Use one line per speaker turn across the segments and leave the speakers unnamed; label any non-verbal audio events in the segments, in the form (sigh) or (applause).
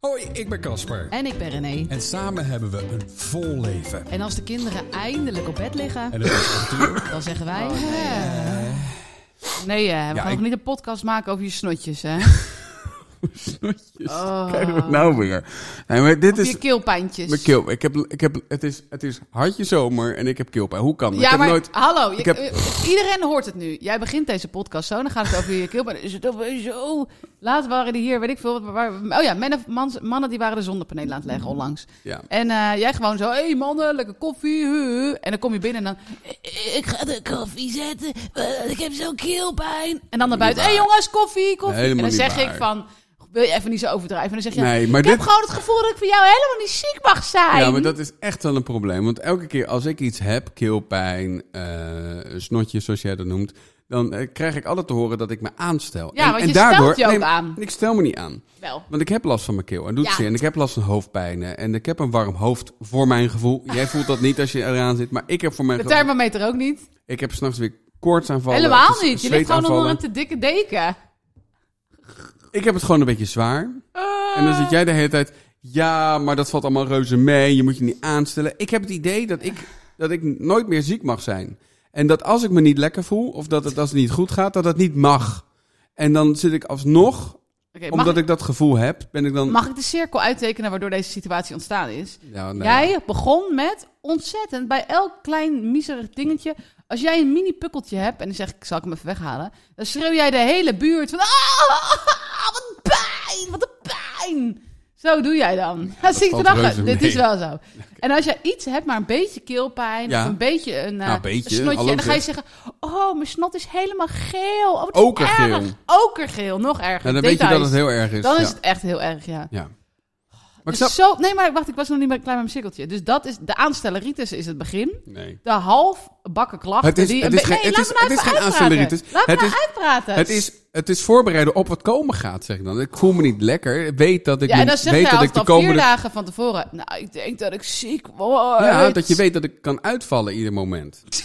Hoi, ik ben Casper.
En ik ben René.
En samen hebben we een vol leven.
En als de kinderen eindelijk op bed liggen,
En dat is natuurlijk...
dan zeggen wij... "Eh." Nee, eh,
Ja,
we gaan
ik-
ook niet een podcast maken over je
(laughs)
snotjes, hè?
Snotjes.
Oh.
Kijk wat nou weer. Nee, maar dit
Of
is...
je keelpijntjes.
Mijn keel. Ik heb, ik heb, het, is, het is hartje zomer en ik heb keelpijn. Hoe kan dat? ik
Ja,
heb
maar
nooit...
hallo, je-
ik heb-
eh, iedereen hoort het nu. Jij begint deze podcast zo, dan gaat het over je keelpijn. Is het over zo? Laatst waren die hier, weet ik veel. Waar, oh ja, mannen, mans- mannen die waren de zonnepanelen aan het leggen onlangs.
Ja.
En eh, jij gewoon zo, hé hey mannen, lekker koffie. huh, huh." En dan kom je binnen en dan, "Eh, ik ga de koffie zetten, eh, ik heb zo'n keelpijn. En dan naar buiten, hé
waar.
hey jongens, koffie, koffie.
Helemaal
en dan
niet
zeg ik
waar.
van, wil je even niet zo overdrijven? En dan zeg je,
Nee, maar
ik heb
dit-
gewoon het gevoel dat ik voor jou helemaal niet ziek mag zijn.
Ja, maar dat is echt wel een probleem. Want elke keer als ik iets heb, keelpijn, eh snotjes zoals jij dat noemt, dan eh, krijg ik altijd te horen dat ik me aanstel.
Ja, want je stelt je ook aan.
Ik stel me niet aan.
Wel.
Want ik heb last van mijn keel en doet
Ja.
zeer. En ik heb last van hoofdpijnen. En ik heb een warm hoofd voor mijn
(laughs)
gevoel. Jij voelt dat niet als je eraan zit. Maar ik heb voor mijn
De
gevoel...
thermometer ook niet.
Ik heb s'nachts weer koortsaanvallen.
Helemaal
z-
niet. Je ligt gewoon onder
zweetaanvallen.
een te dikke deken.
Ik heb het gewoon een beetje zwaar. En dan zit jij de hele tijd... Ja, maar dat valt allemaal reuze mee. Je moet je niet aanstellen. Ik heb het idee dat ik, dat ik nooit meer ziek mag zijn. En dat als ik me niet lekker voel... of dat het als het niet goed gaat, dat dat niet mag. En dan zit ik alsnog...
Oké, mag,
Omdat ik dat gevoel heb, ben ik dan...
mag ik de cirkel uittekenen waardoor deze situatie ontstaan is?
Ja, nee.
Jij begon met ontzettend bij elk klein miserig dingetje. Als jij een mini pukkeltje hebt en dan zeg ik, zal ik hem even weghalen? Dan schreeuw jij de hele buurt van, ah, wat een pijn, wat een pijn. Zo doe jij dan. Dat zie ik
valt reuze
vandaag. Dit
mee.
is wel
(laughs)
zo. En als jij iets hebt, maar een beetje keelpijn,
Ja.
of een beetje een, eh,
Nou, een beetje,
een snotje,
hallo
en dan ga je
zeg.
zeggen, oh, mijn snot is helemaal geel. Oh, wat is
Okergeel.
erg. Okergeel, nog erger.
Nou, dan weet je dat
Details.
het heel erg is.
Dan
ja.
is het echt heel erg, ja.
Ja. Maar ik snap...
Dus zo, nee, maar wacht, ik was nog niet bij klaar met mijn cirkeltje. Dus dat is, de aanstelleritis is het begin.
Nee.
De half bakken klachten
Het is-
die...
het
een
is
be-
geen-
nee,
het
laat
is-
me nou
het is
even
geen
uitpraten.
aanstelleritis.
Laat me
Het
nou
is-
uitpraten.
Het is, het is voorbereiden op wat komen gaat, zeg ik dan. Ik voel me niet lekker. Ik Weet dat ik,
ja,
me-
en dan zeg
weet
jij
dat ik
altijd
de
al
komende...
vier dagen van tevoren... Nou, ik denk dat ik ziek word.
Ja, dat je weet dat ik kan uitvallen ieder moment. (laughs)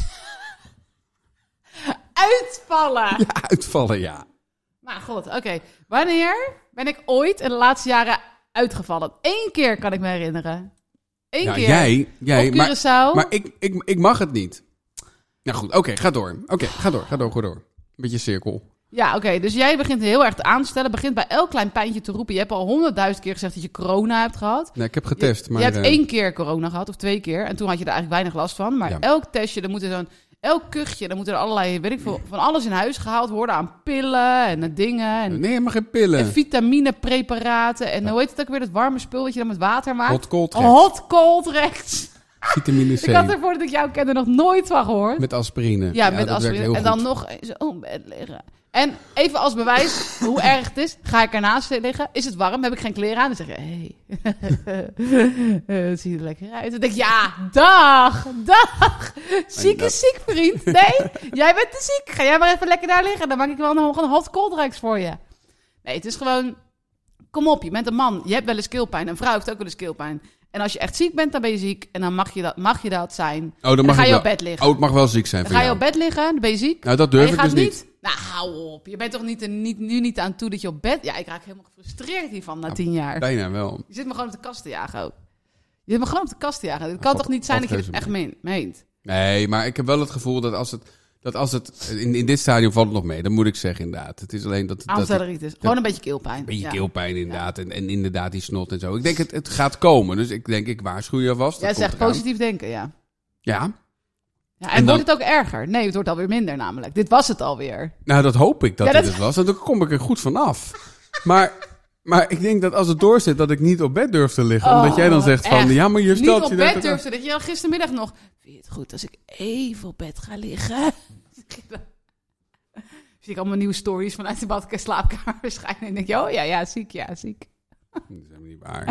Uitvallen.
Ja, uitvallen, ja.
Maar god, oké. Wanneer ben ik ooit in de laatste jaren uitgevallen? Eén keer kan ik me herinneren. Eén
ja
keer.
jij, jij.
Op
maar
Curaçao.
maar ik, ik, ik mag het niet. Nou goed, oké, ga door. Oké, ga door, ga door, ga door. Beetje cirkel.
Ja, oké. Dus jij begint heel erg te aanstellen. Begint bij elk klein pijntje te roepen. Je hebt al honderdduizend keer gezegd dat je corona hebt gehad.
Nee, ik heb getest,
je,
maar...
je hebt
eh,
één keer corona gehad, of twee keer. En toen had je er eigenlijk weinig last van. Maar
Ja.
elk testje, er moet er zo'n... Elk kuchje, er moeten er allerlei, weet ik veel, van alles in huis gehaald worden. Aan pillen en aan dingen. En,
Nee, maar geen pillen.
en vitaminepreparaten. En hoe heet het ook weer? Dat warme spul wat je dan met water maakt.
Hot cold
Oh,
rechts.
Hot cold rechts.
Vitamine
Ik had
C.
er voordat ik jou kende nog nooit van gehoord.
Met aspirine.
Ja,
dat
met
werkt
aspirine.
heel
En dan
goed.
nog eens op bed liggen. En even als
(laughs)
bewijs hoe erg het is, ga ik ernaast liggen. Is het warm? Heb ik geen kleren aan? Dan zeg je, (laughs) hé, hey. het ziet er lekker uit. Dan denk ik, ja, dag, dag. Ziek
dat-
is ziek, vriend. Nee, jij bent te ziek. Ga jij maar even lekker daar liggen. Dan maak ik wel nog een hot coldrex voor je. Nee, het is gewoon, kom op, je bent een man. Je hebt wel eens keelpijn. Een vrouw heeft ook wel eens keelpijn. En als je echt ziek bent, dan ben je ziek. En dan mag je dat, mag je dat zijn.
Oh, dan mag
En dan ga
ik
je
wel-
op bed liggen.
Oh, het mag wel ziek zijn
Dan
van
ga je
jou.
op bed liggen, dan ben je ziek.
Nou, dat
Maar
durf
je
ik
gaat
dus niet.
Nou, hou op. Je bent toch niet, er niet, nu niet aan toe dat je op bed... Ja, ik raak helemaal gefrustreerd hiervan na
Nou,
tien jaar.
Bijna wel.
Je zit me gewoon op de kast te jagen ook. Je zit me gewoon op de kast te jagen. Het kan
Wat-
toch niet zijn
wat
dat je het
reuze
echt meen- meent?
Nee, maar ik heb wel het gevoel dat als het... Dat als het in, in dit stadium valt het nog mee, dat moet ik zeggen inderdaad. Het is alleen dat... dat een
Aanstelleritis. Gewoon een beetje keelpijn.
beetje
ja.
keelpijn inderdaad. En, en inderdaad die snot en zo. Ik denk het, het gaat komen. Dus ik denk ik waarschuw je alvast.
Jij
Dat komt
zegt
eraan.
positief denken, ja.
Ja,
ja en
En dan-
wordt het ook erger? Nee, het wordt alweer minder namelijk. Dit was het alweer.
nou dat hoop ik dat
Ja,
dit
dat-
het was. Want dan kom ik er goed vanaf. maar, maar ik denk dat als het doorzit dat ik niet op bed durf te liggen.
Oh,
omdat jij dan zegt van
echt.
ja maar je
Niet
stelt
op
je
bed
dat-
durfde dat je al gistermiddag nog... Vind je het goed als ik even op bed ga liggen? (laughs) Zie ik allemaal nieuwe stories vanuit de badkamer, slaapkamer (laughs) verschijnen. En denk je, oh ja, ja, ziek, ja, ziek.
Dat is helemaal niet
(laughs)
waar.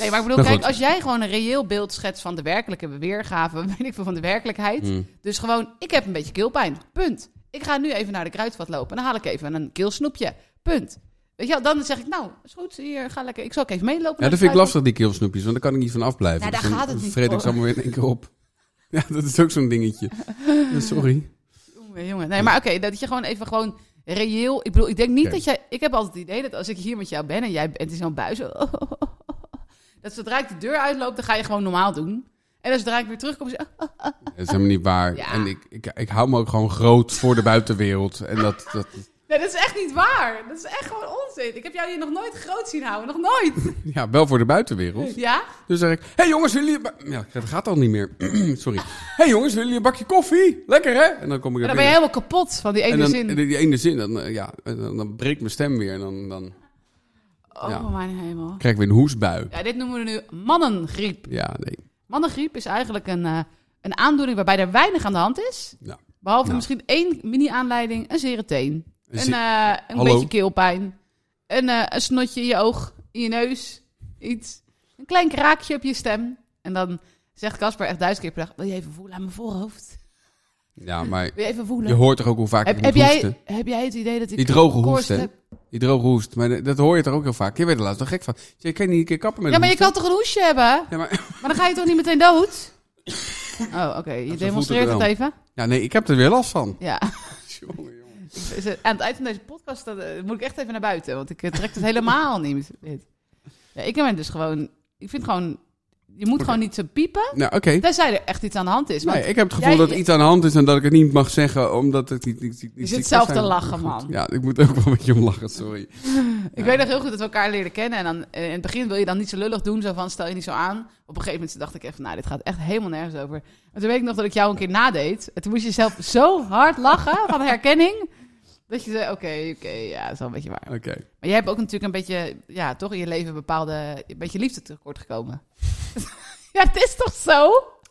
Nee, maar ik bedoel,
Nou,
kijk,
goed.
als jij gewoon een reëel beeld schetst van de werkelijke weergave, (laughs) weet ik veel, van de werkelijkheid.
Hmm.
Dus gewoon, ik heb een beetje keelpijn, punt. Ik ga nu even naar de kruidvat lopen en dan haal ik even een keelsnoepje, punt. Weet je wel, dan zeg ik, nou, is goed, hier, ga lekker. Ik zal ook even meelopen.
Ja, dat
naar de
vind ik
kruidvat.
lastig die keelsnoepjes. Want daar kan ik niet van afblijven.
Nou, daar
Dus dan
gaat het niet
vreet ik ze
voor.
allemaal weer in één keer op. (laughs) Ja, dat is ook zo'n dingetje. Ja, Sorry.
Jongen, jongen. Nee, maar oké, dat je gewoon even gewoon reëel. Ik bedoel, ik denk niet
Oké.
dat jij... Ik heb altijd het idee dat als ik hier met jou ben en jij bent in zo'n bui... Zo, (laughs) dat zodra ik de deur uitloop, dan ga je gewoon normaal doen. En dan zodra ik "Oh, weer terugkom, zo,
Dat is helemaal niet waar.
Ja.
En ik, ik, ik hou me ook gewoon groot voor de buitenwereld. En dat, dat,
Nee, dat is echt niet waar. Dat is echt gewoon onzin. Ik heb jou hier nog nooit groot zien houden. Nog nooit. (laughs)
ja, wel voor de buitenwereld.
Ja?
Dus zeg ik, hé hey jongens, willen jullie... een ba- Ja, dat gaat al niet meer. (clears throat) Sorry. Hé hey jongens, willen jullie een bakje koffie? Lekker hè? En dan kom ik
Maar
er
dan ben je
binnen.
helemaal kapot van die ene
en dan,
zin.
en Die ene zin, dan, eh, ja, en dan, dan breekt mijn stem weer. En dan, dan
oh,
ja.
mijn hemel.
krijg ik weer een hoesbui.
Ja, dit noemen we nu mannengriep.
Ja, nee.
Mannengriep is eigenlijk een, eh, een aandoening waarbij er weinig aan de hand is.
Ja.
Behalve
Ja.
misschien één mini-aanleiding, een zere teen.
Een
Een,
ze-
eh, een
Hallo?
beetje keelpijn. Een, eh, een snotje in je oog, in je neus. Iets. Een klein kraakje op je stem. En dan zegt Casper echt duizend keer per dag... Wil je even voelen aan mijn voorhoofd?
ja, maar
Wil je even
je
voelen?
hoort toch ook hoe vaak
Heb,
ik
heb,
moet
jij,
hoesten?
heb jij het idee dat ik...
Die droge
koorts
hoest, hè?
heb?
Die droge hoest. Maar dat- dat hoor je toch ook heel vaak? Je werd er laatst wel gek van. Ik zei, kan je niet een keer kappen met
Ja, maar je
een
kan toch een hoesje hebben?
hoest? Ja, maar...
Maar dan ga je toch niet meteen
(laughs)
dood? Oh, oké. Je
het
demonstreert het
wel.
even.
ja, nee, ik heb er weer last van.
Ja.
(laughs) Jongen, jongen.
Is het- Aan het eind van deze podcast eh, moet ik echt even naar buiten. Want ik eh, trek het helemaal niet. dit. Ja, ik ben dus gewoon... Ik vind gewoon... Je moet gewoon niet zo piepen.
Nou, oké.
Tenzij er echt iets aan de hand is. Want
Nee, ik heb het gevoel
jij-
dat er iets aan de hand is en dat ik het niet mag zeggen, omdat het niet... niet, niet
je
niet-
zit
niet-
zelf te
zijn.
lachen, man.
Ja, ik moet ook wel een beetje om lachen, sorry.
Ik weet nog heel goed dat we elkaar leren kennen. En dan, eh, in het begin wil je dan niet zo lullig doen. Zo van, stel je niet zo aan. Op een gegeven moment dacht ik echt van, nou, dit gaat echt helemaal nergens over. En toen weet ik nog dat ik jou een keer nadeed. En toen moest je zelf zo hard lachen van herkenning. Dat je zei, oké, oké, ja, dat is wel een beetje waar.
Oké.
Maar jij hebt ook natuurlijk een beetje, ja, toch in je leven een bepaalde, een beetje liefde tekort gekomen. (laughs) ja, het is toch zo?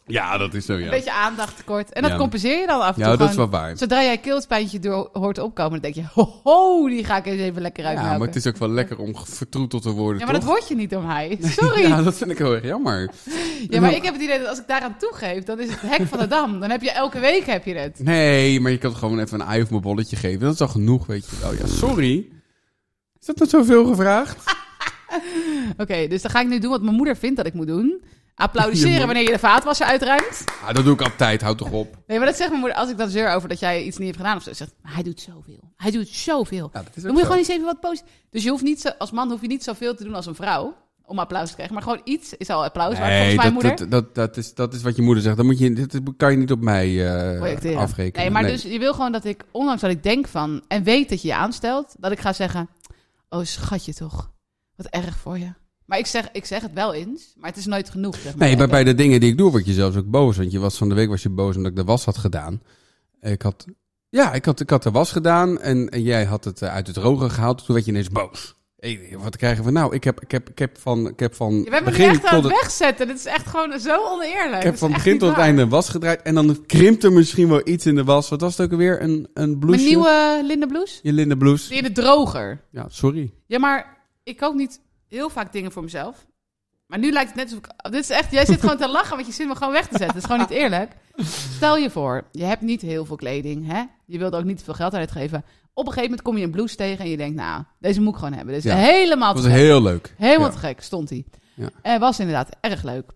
Ja, dat is zo,
Een
ja.
beetje aandacht tekort. En dat
Ja.
compenseer je dan af en toe
Ja, dat
gewoon.
is wel waar.
Zodra jij keelspijntje door hoort opkomen, dan denk je, ho, ho die ga ik eens even lekker uitmaken.
Ja, maar het is ook wel lekker om ge- vertroeteld te worden,
Ja, maar dat
toch?
word je niet om hij. Sorry.
(laughs) Ja, dat vind ik heel erg jammer.
ja, maar ik heb het idee dat als ik daaraan toegeef, dan is het hek van de dam. Dan heb je elke week heb je het.
Nee, maar je kan toch gewoon even een ei of mijn bolletje geven. Dat is al genoeg, weet je wel. Ja, sorry. Is dat nou zoveel gevraagd?
Oké, dus dan ga ik nu doen wat mijn moeder vindt dat ik moet doen.
(laughs) Je moet-
Applaudisseren wanneer je de vaatwasser uitruimt.
Ja, Ah, dat doe ik altijd. Houd toch op.
Nee, maar dat zegt mijn moeder als ik dan zeur over dat jij iets niet hebt gedaan of zo. Zegt, maar hij doet zoveel. Hij doet zoveel.
Ja, dat is ook
dan moet je
zo.
gewoon eens even wat positief. Dus je hoeft niet zo, als man hoef je niet zoveel te doen als een vrouw om applaus te krijgen. Maar gewoon iets is al applaus. waard. volgens mijn
dat, dat,
moeder.
dat, dat, is, dat is wat je moeder zegt. Dat, moet je, dat kan je niet op mij eh,
projecteren.
afrekenen.
Nee, maar dus je wil gewoon dat ik, ondanks dat ik denk van en weet dat je je aanstelt, dat ik ga zeggen: Oh, schatje toch, wat erg voor je. Maar ik zeg, ik zeg het wel eens, maar het is nooit genoeg. Zeg maar.
Nee, maar bij de dingen die ik doe word je zelfs ook boos. Want je was van de week was je boos omdat ik de was had gedaan. Ik had, ja, ik had, ik had de was gedaan en, en jij had het eh, uit het droge gehaald. Toen werd je ineens boos. Hé, wat krijgen we nou? Ik heb, ik heb, ik heb van, ik heb van
Je bent me nu
begin
echt aan
tot
het
het,
wegzetten. Dit is echt gewoon zo oneerlijk.
ik heb van begin tot het einde een was gedraaid. En dan krimpt er misschien wel iets in de was. Wat was het ook alweer? Een, een
Mijn
blouseje?
nieuwe Linda Blouse?
Je linnen blouse.
Die in de droger.
Ja, sorry.
Ja, maar ik koop niet heel vaak dingen voor mezelf. Maar nu lijkt het net alsof ik... Dit is echt... Jij zit gewoon te lachen, want je zit me gewoon weg te zetten. Dat is gewoon niet eerlijk. Stel je voor, je hebt niet heel veel kleding, hè? Je wilt ook niet veel geld uitgeven. Op een gegeven moment kom je een blouse tegen en je denkt... Nou, deze moet ik gewoon hebben. Deze is
Ja.
helemaal
Dat
te
was
gek.
heel leuk.
Helemaal
Ja.
te gek, stond hij.
Ja.
Eh, was inderdaad erg leuk.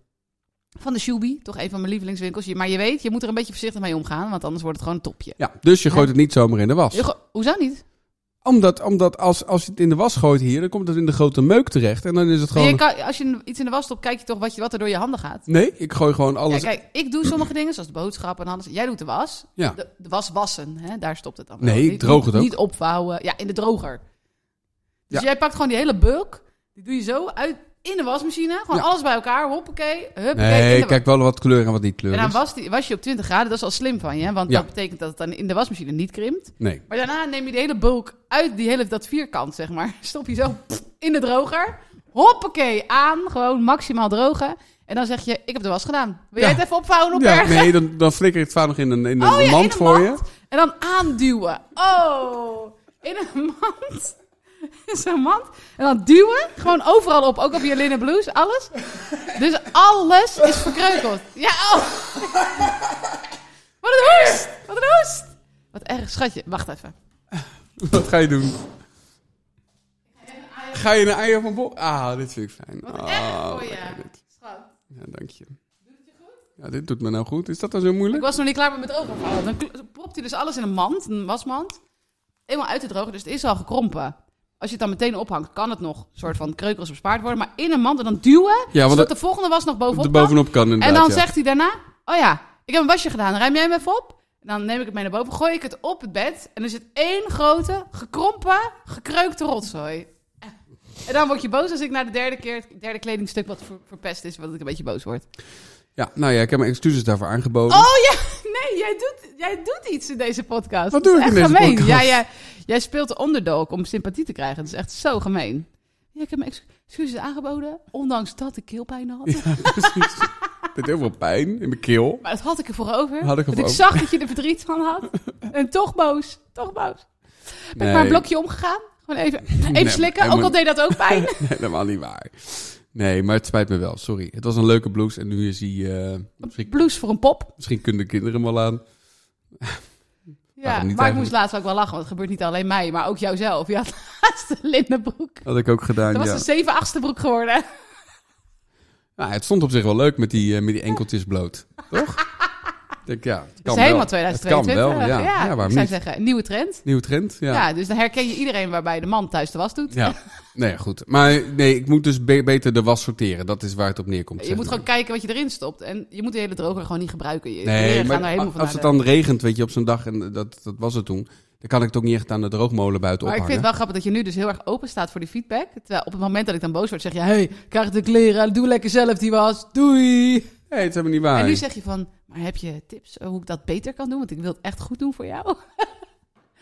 Van de Shubi, toch een van mijn lievelingswinkels. Je- Maar je weet, je moet er een beetje voorzichtig mee omgaan, want anders wordt het gewoon een topje.
Ja, dus je gooit het niet zomaar in de was.
Je go- Hoezo niet?
Omdat, omdat als, als je het in de was gooit hier, dan komt het in de grote meuk terecht. En dan is het
Nee,
gewoon...
je kan- als je iets in de was stopt, kijk je toch wat, je, wat er door je handen gaat.
Nee, ik gooi gewoon alles.
Ja, kijk, ik doe sommige dingen, zoals de boodschappen en alles. Jij doet de was.
Ja.
De, de was wassen, hè? daar stopt het dan.
Nee,
wel.
ik
Niet-
droog het ook.
Niet opvouwen. Ja, in de droger. Dus
Ja.
jij pakt gewoon die hele bulk, die doe je zo uit in de wasmachine. Gewoon
Ja.
alles bij elkaar, hoppakee, huppakee. in
Nee,
de wa-
kijk wel wat kleur en wat niet kleur
En dan
is.
was, die, was je op 20 graden, dat is al slim van je. Want
Ja.
dat betekent dat het dan in de wasmachine niet krimpt.
Nee.
Maar daarna neem je de hele bulk uit die hele, dat vierkant, zeg maar. (laughs) Stop je zo pff, in de droger. Hoppakee, aan. Gewoon maximaal drogen. En dan zeg je, ik heb de was gedaan. Wil jij
Ja.
het even opvouwen op
Ja,
(laughs) ergens?
nee, dan, dan flikker ik het vaak nog in een, in een
Oh ja,
mand
in een
voor
mand. En dan aanduwen. Oh, in een mand. (laughs) In zo'n mand. En dan duwen. Gewoon overal op. Ook op je linnen blouse. Alles. Dus alles is verkreukeld. Ja, oh. (laughs) Wat een hoest. Wat een hoest. Wat erg. Schatje, wacht even.
je. (laughs) Wat ga je doen? Ga je een ei op een bol? Ah, dit vind ik fijn.
Wat
Ah,
erg voor
ja,
je.
dit-
Schat.
Ja, dank je. Ja, dit doet me nou goed. Is dat dan zo
Ik
moeilijk?
was nog niet klaar met mijn droogopvouwen. Dan kl- propt hij dus alles in een mand. Een wasmand. eenmaal uit te drogen, dus het is al gekrompen. Als je het dan meteen ophangt, kan het nog een soort van kreukels bespaard worden. Maar in een mand en dan duwen,
Ja, want
zodat
het
de volgende was nog bovenop
er
kan.
bovenop kan inderdaad.
En dan
ja.
zegt hij daarna, oh ja, ik heb een wasje gedaan, ruim jij hem even op? Dan neem ik het mee naar boven, gooi ik het op het bed. En er zit één grote, gekrompen, gekreukte rotzooi. En dan word je boos als ik na de derde keer het derde kledingstuk wat ver- verpest is, want ik een beetje boos word.
Ja, nou ja, ik heb mijn excuses daarvoor aangeboden.
Oh ja, (laughs) nee, jij doet, jij doet iets in deze podcast.
Wat
Dat
doe
is
ik
echt
in deze
gemeen.
podcast?
Ja, ja, jij speelt de underdog om sympathie te krijgen. Dat is echt zo gemeen. Ja, ik heb mijn ex- excuses aangeboden, ondanks dat ik keelpijn had.
(laughs) Precies. Het deed heel veel pijn in mijn keel.
Maar dat had ik ervoor over.
Had ik ervoor
want ik
over.
zag dat je er verdriet van
(laughs)
had. En toch boos. Toch boos. Ben ik maar een blokje omgegaan. Gewoon even, even
Nee,
slikken.
helemaal
Ook al deed dat ook
(laughs)
pijn.
Nee, helemaal niet waar. Nee, maar het spijt me wel. Sorry. Het was een leuke blouse en nu is hij... eh, misschien,
Blouse voor een pop.
misschien kunnen de kinderen hem wel aan.
Ja,
Waarom niet
maar ik
eigenlijk?
moest laatst ook wel lachen. Want het gebeurt niet alleen mij, maar ook jouzelf. Je had (laughs) laatst een lindenbroek.
Had ik ook gedaan,
Dat was
ja.
een 7 8 broek geworden.
Nou, het stond op zich wel leuk met die, eh, met die enkeltjes bloot. Toch? Ik denk, ja, het
Dat
kan
is helemaal
wel.
2022.
Het kan wel, ja. Ja,
ik
waarom
zou
niet?
zeggen, een nieuwe trend.
Nieuwe trend,
Ja. dus dan herken je iedereen waarbij de man thuis de was doet.
Ja, nee, goed. Maar nee, ik moet dus be- beter de was sorteren. Dat is waar het op neerkomt.
Je
zeg
moet
maar.
gewoon kijken wat je erin stopt. En je moet de hele droger gewoon niet gebruiken. Je
Nee,
kleren gaan
maar
daar helemaal
a-
van
als het dan regent, weet je, op zo'n dag, en dat, dat was het toen, dan kan ik het ook niet echt aan de droogmolen buiten
Maar ik vind
ophangen.
het wel grappig dat je nu dus heel erg open staat voor die feedback. Terwijl op het moment dat ik dan boos word, zeg je... hey, krijg de kleren, doe lekker zelf die was, doei!
Nee, het is helemaal niet waar.
En nu zeg je van, maar heb je tips eh, hoe ik dat beter kan doen? Want ik wil het echt goed doen voor jou.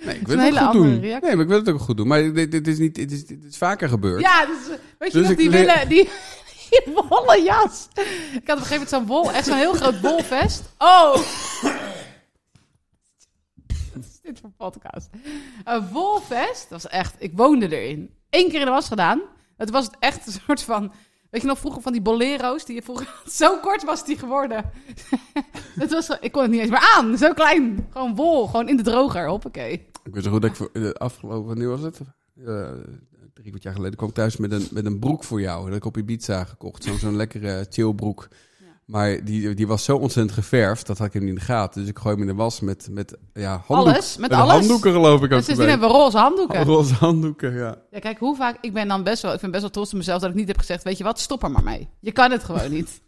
nee, ik
is
wil
een
het
hele
ook goed
andere
doen.
reactie.
Nee, maar ik wil het ook goed doen. Maar dit, dit is, niet, dit, is, dit is vaker gebeurd.
Ja, dus, eh, weet je
Dus
nog,
ik
die
leer-
willen... Die, die wollen jas. Ik had op een gegeven moment zo'n wol, echt zo'n heel groot wolvest. Oh! Wat is dit voor podcast? Een wolvest, dat was echt... Ik woonde erin. Eén keer in de was gedaan. Het was echt een soort van... Weet je nog vroeger van die bolero's? Die je vroeger, (laughs) zo kort was die geworden. (laughs) Het was, zo- ik kon het niet eens meer aan. Zo klein. Gewoon wol. Gewoon in de droger. Hoppakee.
Ik weet zo goed dat ik voor, eh, afgelopen, nu was het? Eh, drie, kwart jaar geleden kwam ik thuis met een, met een broek voor jou. Dat heb ik op Ibiza gekocht. Zo'n zo'n lekkere chillbroek. Maar die, die was zo ontzettend geverfd, dat had ik hem niet in de gaten. Dus ik gooi hem in de was met, met ja, handdoek.
Alles. Met,
Met
alles. dus
handdoeken geloof ik ook
En sindsdien
erbij.
hebben we roze handdoeken.
Roze handdoeken, ja.
Ja, kijk, hoe vaak... Ik ben dan best wel... Ik ben best wel trots op mezelf dat ik niet heb gezegd... Weet je wat, stop er maar mee. Je kan het gewoon
(laughs)
niet.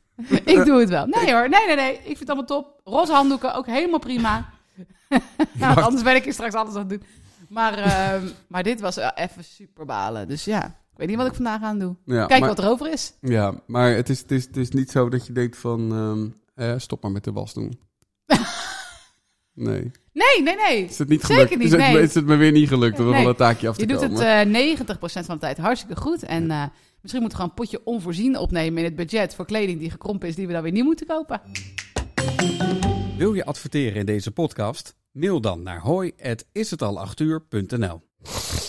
ik doe het wel. Nee hoor, nee, nee, nee. Ik vind het allemaal top. Roze handdoeken, ook helemaal prima.
(laughs)
nou,
Wacht.
anders ben ik hier straks alles aan het doen. Maar, ehm, maar dit was wel even super balen. Dus ja, ik weet niet wat ik vandaag aan doe.
ja
Kijk
maar,
wat er over is.
Ja, maar het is, het, is, het is niet zo dat je denkt van... ehm, eh, stop maar met de was
(laughs)
doen. nee.
Nee, nee, nee.
Is het niet
Zeker
gelukt?
niet,
is, het,
nee.
is het me weer niet gelukt om
Nee.
van dat taakje af te
Je doet
komen?
het eh 90% van de tijd hartstikke goed. En eh, misschien moeten we gewoon een potje onvoorzien opnemen in het budget... voor kleding die gekrompen is, die we dan weer nieuw moeten kopen. eh,
Wil je adverteren in deze podcast? Mail dan naar hoi@ishetalachuur.nl.